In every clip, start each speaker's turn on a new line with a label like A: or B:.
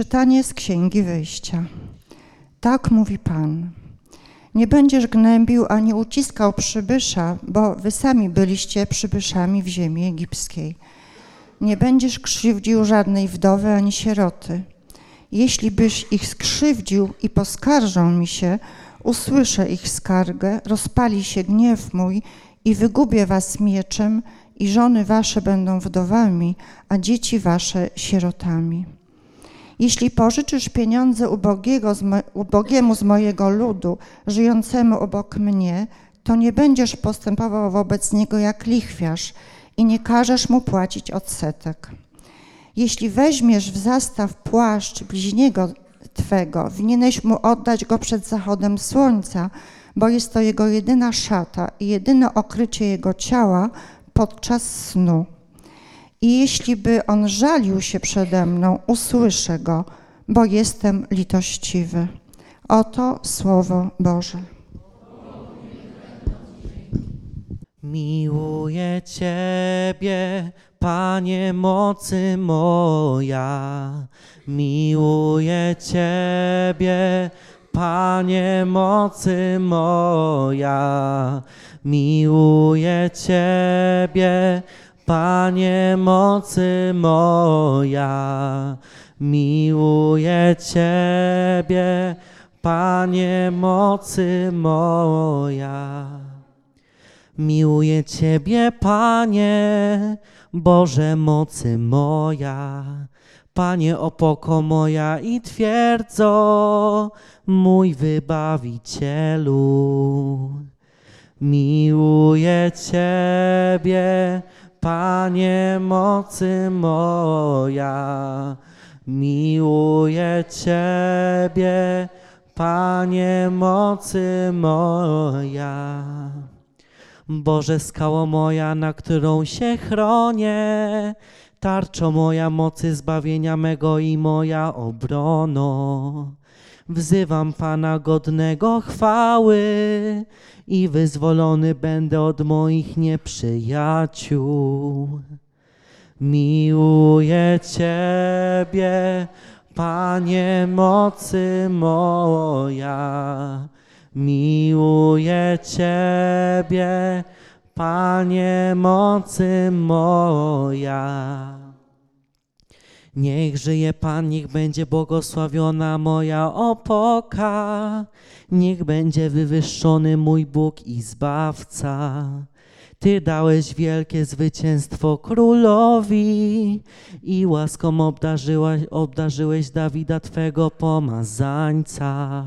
A: Czytanie z Księgi Wyjścia. Tak mówi Pan. Nie będziesz gnębił ani uciskał przybysza, bo wy sami byliście przybyszami w ziemi egipskiej. Nie będziesz krzywdził żadnej wdowy ani sieroty. Jeśli byś ich skrzywdził i poskarżą mi się, usłyszę ich skargę, rozpali się gniew mój i wygubię was mieczem, i żony wasze będą wdowami, a dzieci wasze sierotami. Jeśli pożyczysz pieniądze ubogiego z mo- ubogiemu z mojego ludu, żyjącemu obok mnie, to nie będziesz postępował wobec niego jak lichwiarz i nie każesz mu płacić odsetek. Jeśli weźmiesz w zastaw płaszcz bliźniego twego, winieneś mu oddać go przed zachodem słońca, bo jest to jego jedyna szata i jedyne okrycie jego ciała podczas snu. I jeśli by on żalił się przede mną, usłyszę go, bo jestem litościwy. Oto słowo Boże.
B: Miłuję Ciebie, Panie mocy moja. Miłuję Ciebie, Panie mocy moja. Miłuję Ciebie, Panie mocy moja. Miłuję Ciebie, Panie mocy moja. Miłuję Ciebie, Panie, Boże mocy moja. Panie opoko moja i twierdzo, mój Wybawicielu. Miłuję Ciebie, Panie mocy moja. Miłuję Ciebie, Panie mocy moja. Boże skało moja, na którą się chronię, tarczo moja mocy zbawienia mego i moja obrono. Wzywam Pana godnego chwały i wyzwolony będę od moich nieprzyjaciół. Miłuję Ciebie, Panie mocy moja. Miłuję Ciebie, Panie mocy moja. Niech żyje Pan, niech będzie błogosławiona moja opoka, niech będzie wywyższony mój Bóg i Zbawca. Ty dałeś wielkie zwycięstwo królowi i łaską obdarzyłaś, obdarzyłeś Dawida Twego pomazańca.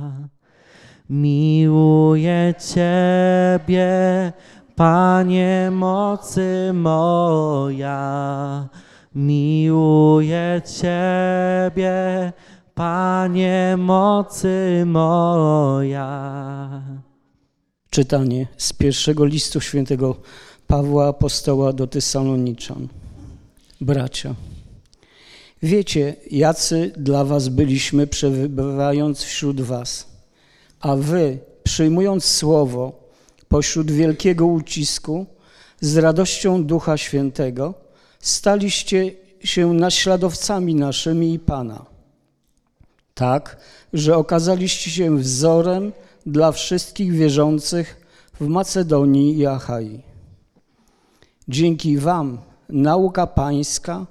B: Miłuję Ciebie, Panie mocy moja. Miłuję Ciebie, Panie mocy moja.
C: Czytanie z pierwszego listu świętego Pawła Apostoła do Tesaloniczan. Bracia, wiecie, jacy dla was byliśmy przebywając wśród was, a wy, przyjmując słowo pośród wielkiego ucisku, z radością Ducha Świętego, staliście się naśladowcami naszymi i Pana. Tak, że okazaliście się wzorem dla wszystkich wierzących w Macedonii i Achai. Dzięki Wam nauka Pańska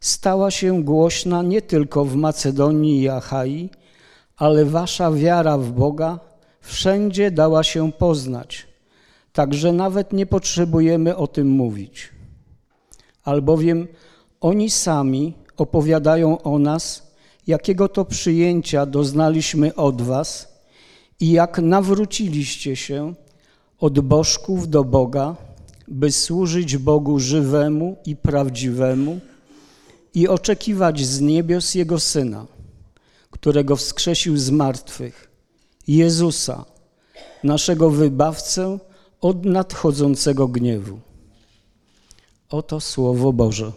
C: stała się głośna nie tylko w Macedonii i Achai, ale Wasza wiara w Boga wszędzie dała się poznać, także nawet nie potrzebujemy o tym mówić. Albowiem oni sami opowiadają o nas, jakiego to przyjęcia doznaliśmy od Was – i jak nawróciliście się od bożków do Boga, by służyć Bogu żywemu i prawdziwemu i oczekiwać z niebios Jego Syna, którego wskrzesił z martwych, Jezusa, naszego Wybawcę od nadchodzącego gniewu. Oto Słowo Boże.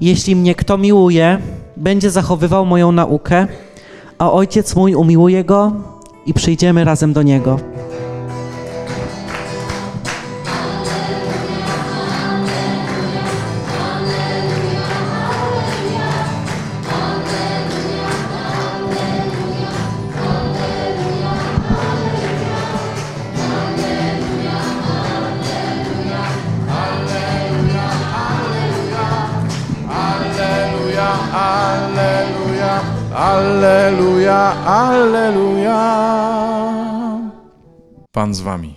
B: Jeśli mnie kto miłuje, będzie zachowywał moją naukę, a ojciec mój umiłuje go i przyjdziemy razem do niego.
D: Alleluja, alleluja, alleluja, alleluja. Pan z wami.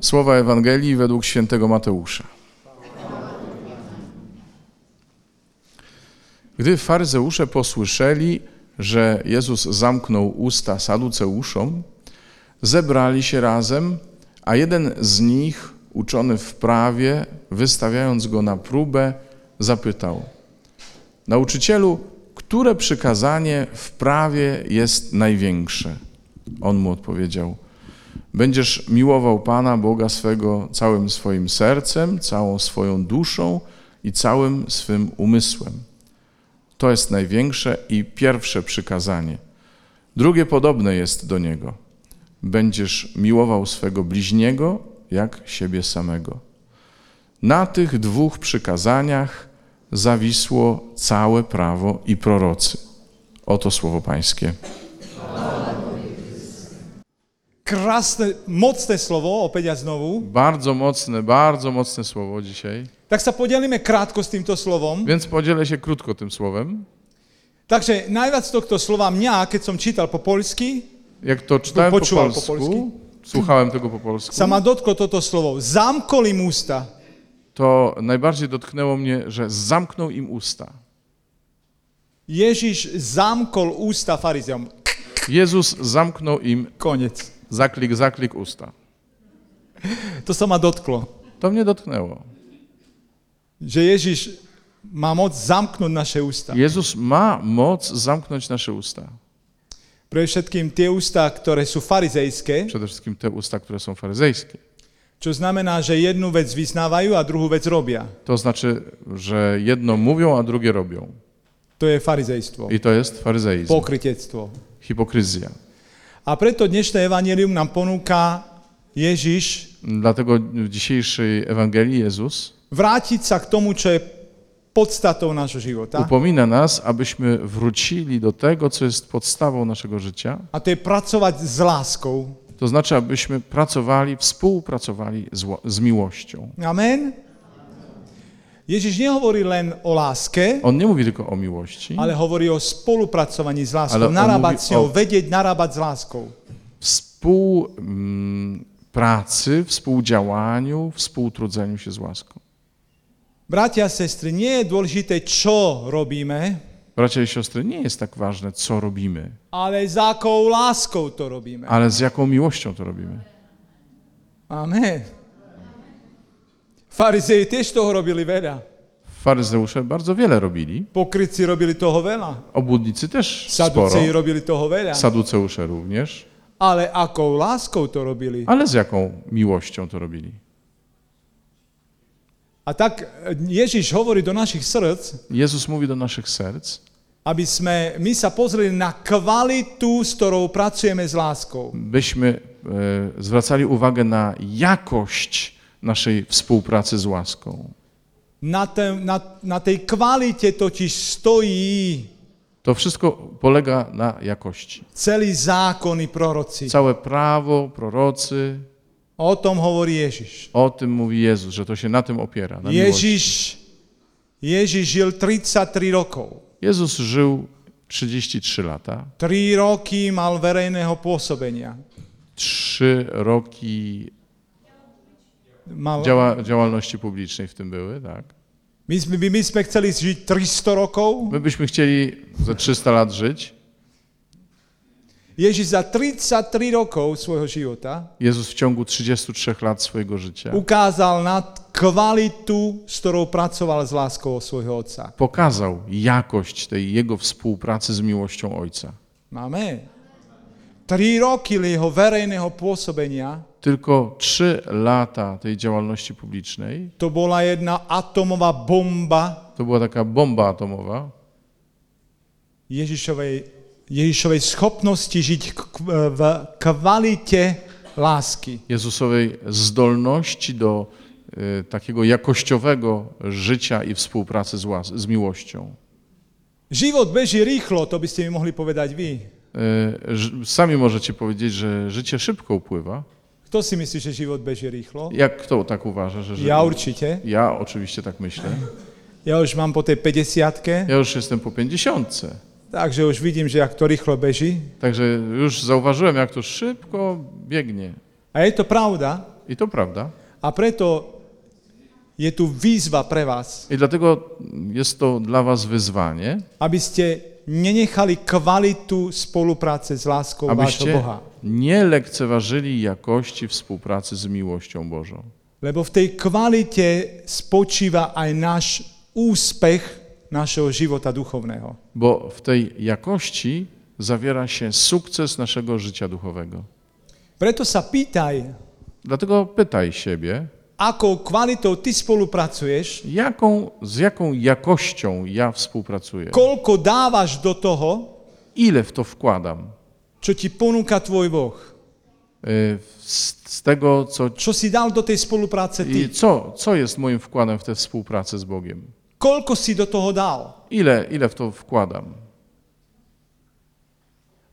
D: Słowa Ewangelii według świętego Mateusza. Gdy faryzeusze posłyszeli, że Jezus zamknął usta saduceuszom, zebrali się razem, a jeden z nich, uczony w prawie, wystawiając go na próbę, zapytał: Nauczycielu, które przykazanie w prawie jest największe? On mu odpowiedział: Będziesz miłował Pana Boga swego całym swoim sercem, całą swoją duszą i całym swym umysłem. To jest największe i pierwsze przykazanie. Drugie podobne jest do niego. Będziesz miłował swego bliźniego jak siebie samego. Na tych dwóch przykazaniach zawisło całe prawo i prorocy. Oto słowo Pańskie.
E: Krásne, mocné slovo, opäť a znovu.
D: Bardzo mocne, bardzo mocne słowo dzisiaj.
E: Tak sa podelíme krátko s týmto slovom.
D: Więc podzielę się krótko tym słowem.
E: Takže najviac tohto slova mňa, keď som čítal po poľsky,
D: Jak to czytałem po
E: Poczułam po
D: polsku,
E: polsku.
D: słuchałem tego po polsku,
E: sa ma dotklo toto slovo. Zamkol im ústa.
D: to najbardziej dotknęło mnie, że zamknął im usta.
E: Ježiš zamkol ústa farizeom.
D: Jezus zamknął im
E: Konec.
D: zaklik, zaklik usta.
E: To sa ma dotklo.
D: To mnie dotknęło.
E: Že Ježiš má moc zamknúť naše ústa.
D: Jezus ma moc zamknąć nasze usta.
E: Pre všetkým tie ústa, ktoré sú farizejské,
D: Przede wszystkim te usta, które są faryzejskie.
E: čo znamená, že jednu vec vyznávajú a druhú vec robia.
D: To znaczy, że jedno mówią, a drugie robią.
E: To je farizejstvo.
D: I to jest faryzeizm,
E: Pokrytectvo.
D: hipokryzja.
E: A preto dnešné evanelium nám ponúka Ježiš
D: Dlatego w dzisiejszej Ewangelii Jezus
E: vrátiť sa k tomu, čo je podstatou nášho života.
D: upomina nas, abyśmy wrócili do tego, co jest podstawą naszego życia.
E: A to je pracovať s láskou.
D: To znaczy, abyśmy pracowali, współpracowali z, ło- z miłością.
E: Amen. Ježiš nehovorí len o láske,
D: On nie mówi tylko o miłości,
E: ale hovorí o spolupracovaní s
D: Ale
E: láskou,
D: on
E: narábať
D: mluví
E: s ňou,
D: o-
E: vedieť narábať s láskou.
D: współpracy, mm, współdziałaniu, współtrudzeniu się z łaską.
E: Bratia a sestry, nie je dôležité, čo robíme,
D: Bracia i siostry, nie jest tak ważne, co robimy,
E: ale za akou láskou to robíme.
D: ale z jaką miłością to robimy.
E: Amen. Farizeji tiež toho robili veľa.
D: Faryzeusze bardzo wiele robili,
E: Pokrytci robili toho veľa.
D: obłudnicy też sporo,
E: Saduceji robili toho veľa.
D: saduceusze również,
E: Ale akou láskou to robili.
D: ale z jaką miłością to robili.
E: A tak e, Ježiš hovorí do našich srdc,
D: Jezus mówi do naszych serc,
E: aby sme my sa pozreli na kvalitu, s ktorou pracujeme s láskou.
D: byśmy e, zwracali uwagę na jakość naszej współpracy z łaską.
E: Na, te, na, na tej kvalite totiž stojí
D: To wszystko polega na jakości.
E: celý zákon i proroci.
D: Całe prawo, prorocy,
E: O tom hovorí Ježiš.
D: o tym mówi Jezus, że to się na tym opiera. Na miłości.
E: Ježiš, Ježiš žil 33 rokov.
D: Jezus żył 33 lata,
E: 3 roky mal verejného pôsobenia.
D: 3 roki
E: Mal,
D: działa, działalności publicznej w tym były, tak.
E: my, sme, my my sme chceli žiť 300 rokov.
D: My byśmy chcieli za 300 lat żyć.
E: Ježiš za 33 rokov svojho života
D: Jezus w ciągu 33 lat swojego życia
E: ukázal na kvalitu, s ktorou pracoval s láskou svojho otca.
D: pokazał jakość tej jego współpracy z miłością Ojca.
E: Máme. Tri roky jeho verejného pôsobenia
D: Tylko 3 lata tej działalności publicznej
E: to bola jedna atomová bomba
D: To była taka bomba atomowa.
E: Ježišovej, Ježišovej schopnosti žiť k- k- v kvalite lásky.
D: Jezusowej zdolności do y, takiego jakościowego życia i współpracy z, łas- z miłością.
E: Život beží rýchlo, to by ste mi mohli povedať vy.
D: Y, ż- Sami możecie powiedzieć, że życie szybko upływa.
E: Kto si myslí, že život beží rýchlo?
D: Jak kto tak uważa, że życie?
E: Ja určite.
D: Ja oczywiście tak myślę.
E: Ja už mám po tej 50
D: Ja już jestem po pięćdziesiątce,
E: takže už vidím, že jak to rýchlo beží.
D: także już zauważyłem, jak to szybko biegnie.
E: A je to pravda.
D: I to prawda.
E: A preto je tu výzva pre vás,
D: I dlatego jest to dla was wyzwanie,
E: aby ste nenechali kvalitu spolupráce s láskou vášho
D: abyście
E: Boha.
D: nie lekceważyli jakości współpracy z miłością Bożą.
E: Lebo v tej kvalite spočíva aj náš úspech našeho života duchovného.
D: Bo w tej jakości zawiera się sukces naszego życia duchowego.
E: Preto sa pýtaj,
D: Dlatego pytaj siebie,
E: akou kvalitou ty spolupracuješ,
D: jaką, z jaką jakością ja współpracuję,
E: koľko dávaš do toho,
D: ile w to wkładam
E: čo ti ponúka tvoj Boh.
D: y, z, z tego, co,
E: Čo si dal do tej spolupráce
D: i
E: ty?
D: co, co jest moim wkładem w tę współpracę z Bogiem,
E: Koľko si do toho dal?
D: ile, ile w to wkładam.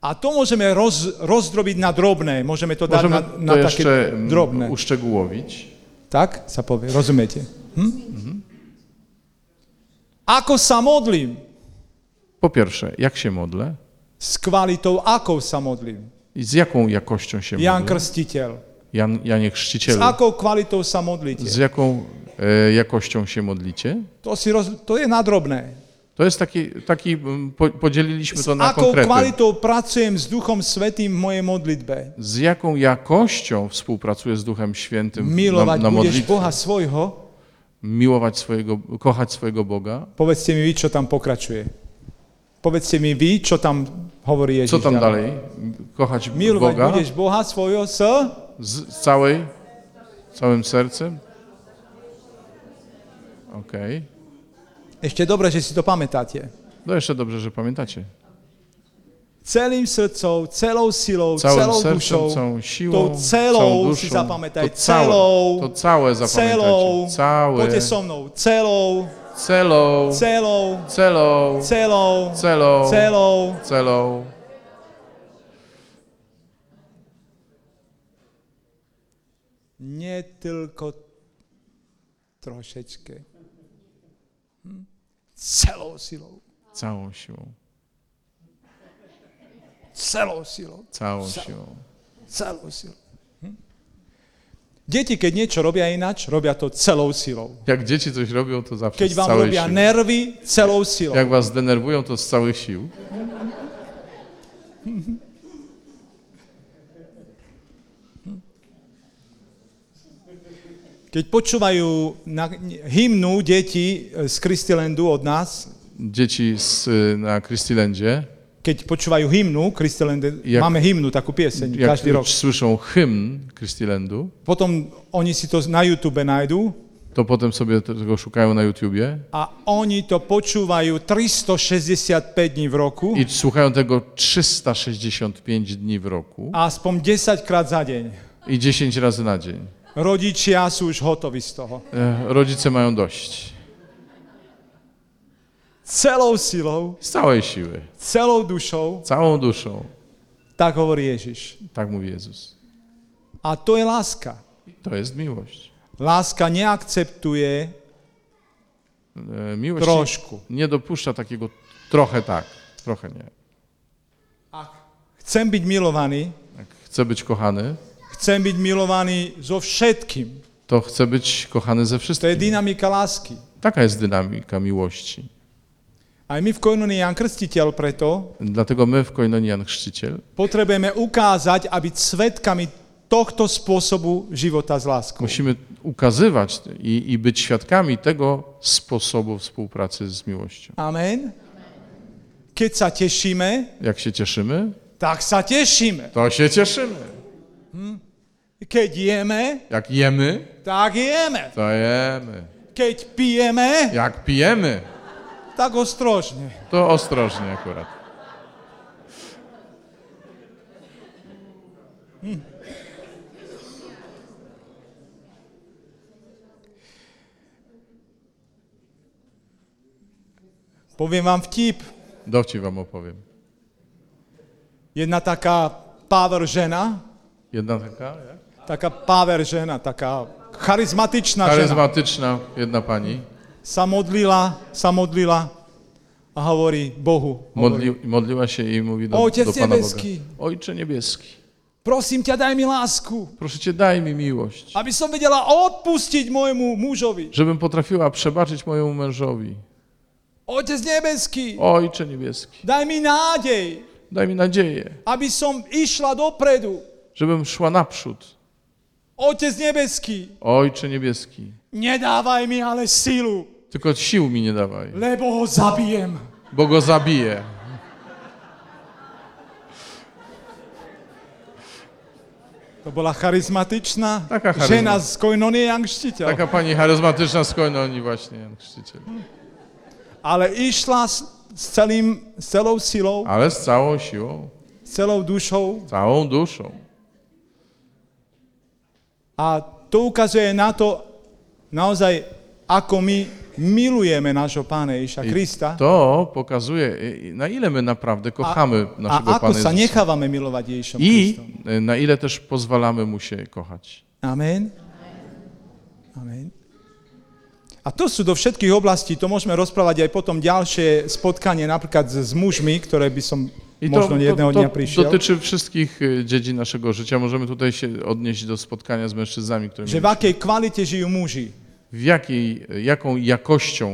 E: A to môžeme roz, rozdrobiť na drobné. Môžeme to dať
D: Możemy
E: na, na
D: to
E: také
D: jeszcze mm,
E: drobné.
D: uszczegółowić.
E: Tak sa povie, rozumiete? Hm?
D: Mhm.
E: Ako sa modlím?
D: Po pierwsze, jak się modlę
E: S kvalitou, akou sa modlím?
D: i z jaką jakością się
E: Jan
D: modlę.
E: Krstiteľ.
D: Jan, Janie
E: S
D: Chrzcicielu,
E: akou kvalitou sa
D: z
E: modlíte?
D: jaką e, jakością się modlicie?
E: To, si roz... to je na drobné.
D: To jest taki, taki mm, po, podzieliliśmy
E: S
D: to na
E: akou
D: konkrety.
E: kvalitou pracujem s Duchom Svetým v mojej modlitbe?
D: Z jaką jakością współpracuję z Duchem Świętym na,
E: Milovať
D: na
E: budeš
D: modlitwie?
E: Boha svojho?
D: Miłować swojego, kochać swojego Boga?
E: Povedzte mi vy, čo tam pokračuje. Povedzte mi vy, čo tam hovorí Ježiš.
D: Co tam dalej? Kochać
E: Milovať
D: Boga
E: budeš Boha svojho s...
D: z całej, całym sercem? Okej.
E: Ešte dobre, že si to pamätáte.
D: No jeszcze dobrze, że pamiętacie.
E: Celým srdcou, celou silou,
D: Całym
E: celou
D: sercem,
E: dušou.
D: całą siłą,
E: to celą
D: całą
E: si
D: duszą.
E: zapamiętaj,
D: to całe,
E: celą,
D: to całe zapamiętacie.
E: celou,
D: Całe,
E: poďte so mnou, celou,
D: celą,
E: celou,
D: celą,
E: celou,
D: celą,
E: celou.
D: celą.
E: Nie tylko troszeczkę. Hm? Celou silou,
D: Całą siłą,
E: celou silou,
D: całą siłą.
E: celou silou. Hm? Deti, keď niečo robia ináč, robia to celou silou.
D: Jak dzieci coś robią, to zawsze
E: Keď
D: z
E: vám
D: całej
E: robia
D: siły.
E: nervy, celou silou.
D: Jak was denerwują, to z całych sił.
E: Keď počúvajú na, hymnu deti z Kristylendu od nás,
D: Dzieci z, y, na Christylandzie,
E: keď počúvajú hymnu, Kristyland,
D: Jak-
E: máme hymnu, takú pieseň,
D: jak
E: každý rok.
D: słyszą hymn Christylandu,
E: Potom oni si to na YouTube nájdú
D: to potem sobie tego szukają na YouTubie
E: a oni to počúvajú 365 dní v roku,
D: i słuchają tego 365 dni w roku
E: aspoň 10 krát za deň.
D: i 10 razy na dzień.
E: Rodičia sú už hotoví z toho.
D: E, Rodzice mają dość.
E: Celou silou,
D: Z całej siły,
E: celou dušou,
D: całą duszą,
E: tak hovorí Ježiš.
D: tak mówi Jezus.
E: A to je láska.
D: To jest miłość.
E: Láska neakceptuje
D: E, Miłość
E: trošku.
D: nie dopuszcza takiego trochę tak, trochę nie.
E: Chcem byť milovaný,
D: Jak chcę być kochany,
E: chcem byť milovaný so všetkým.
D: to chcę być kochany ze
E: To je
D: wszystkim.
E: dynamika lásky.
D: Taka jest dynamika miłości.
E: Aj my v Koinonii Jan Krstiteľ preto
D: Dlatego my w Koinonii Jan Chrzciciel
E: potrebujeme ukázať a byť svetkami tohto spôsobu života s láskou.
D: musimy ukazywać i, i być świadkami tego sposobu współpracy z miłością.
E: Amen. Keď sa tešíme,
D: Jak się cieszymy,
E: tak sa tešíme.
D: to się cieszymy.
E: Keď jeme,
D: Jak jemy,
E: tak jeme.
D: to jemy.
E: Keď pijeme,
D: Jak pijemy,
E: tak ostrożnie.
D: To ostrożnie akurat.
E: Powiem wam wtip.
D: Dowcip wam opowiem.
E: Jedna taka power żena,
D: Jedna taka, jak?
E: taka power żena, taka charyzmatyczna żena,
D: charyzmatyczna jedna pani
E: samodlila, samodlila a mówi Bohu, mówi,
D: modli, modliła się i mówi do,
E: Ojciec
D: do Pana
E: niebieski.
D: Boga. Ojcze niebieski,
E: prosim Cię, daj mi lasku,
D: proszę Cię daj mi miłość,
E: aby som vedela odpustiť mojemu mužovi.
D: żebym potrafiła przebaczyć mojemu mężowi.
E: Otec nebeský,
D: Ojcze niebieski,
E: daj mi nádej,
D: daj mi nadzieję,
E: aby som išla dopredu.
D: żebym szła naprzód.
E: Otec nebeský,
D: Ojcze niebieski,
E: nedávaj mi ale silu,
D: tylko sił mi nie dawaj,
E: lebo ho zabijem.
D: bo go zabiję.
E: To bola charizmatičná
D: Taká charizma-
E: žena z Koinonie Jangštiteľ.
D: Taka pani charyzmatyczna z Koinonii właśnie, Jan chrzciciel.
E: Ale išla s, s, celým, s celou silou,
D: Ale z całą siłą,
E: s celou dušou
D: całą duszą.
E: a to ukazuje na to naozaj, ako my milujeme nášho Pána Ježiša
D: I
E: Krista
D: To pokazuje, y, na ile my naprawdę kochamy naszego
E: a ako
D: Pana Jezusa.
E: sa nechávame milovať Ježišom
D: I
E: Kristom.
D: y, na ile też pozwalamy mu się kochać.
E: Amen. Amen. A to sú do všetkých oblastí, to môžeme rozprávať aj potom ďalšie spotkanie napríklad s s mužmi, ktoré by som
D: I to,
E: možno jedného
D: to,
E: dňa
D: to
E: prišiel.
D: dotyczy wszystkich y, dziedzin naszego życia. Możemy tutaj się odnieść do spotkania z mężczyznami, które
E: Že v akej kvalite žijú muži.
D: w jakiej, jaką jakością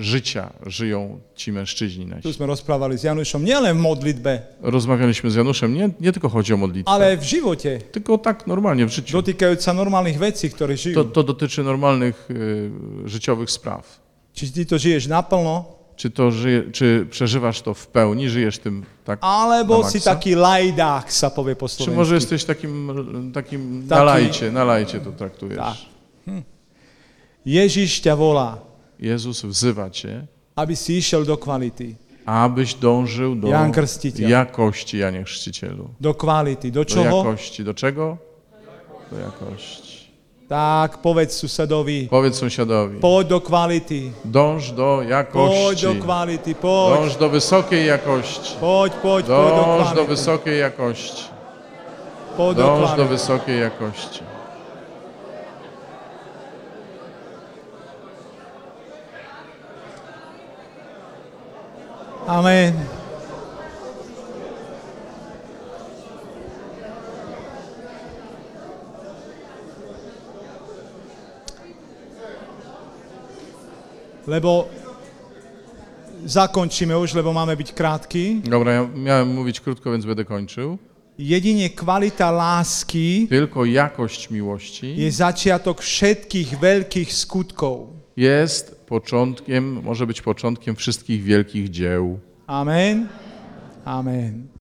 D: y, życia żyją ci mężczyźni
E: Tu
D: nasi.
E: sme rozprávali s Janušom nielen v modlitbe,
D: Rozmawialiśmy z Januszem, nie, nie tylko chodzi o modlitwę,
E: ale aj v živote,
D: tylko tak normalnie w życiu.
E: dotýkajúc sa normálnych vecí, ktoré
D: To,
E: žijú.
D: to dotyczy normalnych y, życiowych spraw.
E: Či ty to žiješ naplno,
D: Czy, to żyje, czy przeżywasz to w pełni, żyjesz tym tak? Na
E: alebo
D: maxa?
E: si taký lajdák, sa povie po
D: Czy może
E: slovensku.
D: jesteś takim, takim
E: Taki-
D: nalajcie, nalajcie to traktujesz?
E: Tak. Ježiš ťa volá,
D: Jezus wzywa cię,
E: aby si išiel do kvality.
D: abyś dążył do
E: Jan Chrzciciel.
D: jakości, Janie Chrzcicielu.
E: Do kvality.
D: Do
E: Do čoho?
D: jakości. Do czego? Do jakości.
E: Tak, povedz susedovi,
D: Powiedz sąsiadowi,
E: poď do kvality,
D: dąż do
E: poď
D: jakości.
E: do kvality, poď,
D: Dąż do wysokiej jakości.
E: poď, poď, poď
D: Dąż
E: do
D: do
E: kvality,
D: wysokiej jakości.
E: poď do
D: Dąż do
E: kvality.
D: wysokiej jakości.
E: Amen. Lebo zakončíme už, lebo máme byť krátky.
D: Dobra, ja miałem mówić krótko, więc będę kończył.
E: Jedine kvalita lásky
D: Tylko jakość miłości
E: je začiatok všetkých veľkých skutkov.
D: jest początkiem, może być początkiem wszystkich wielkich dzieł.
E: Amen. Amen.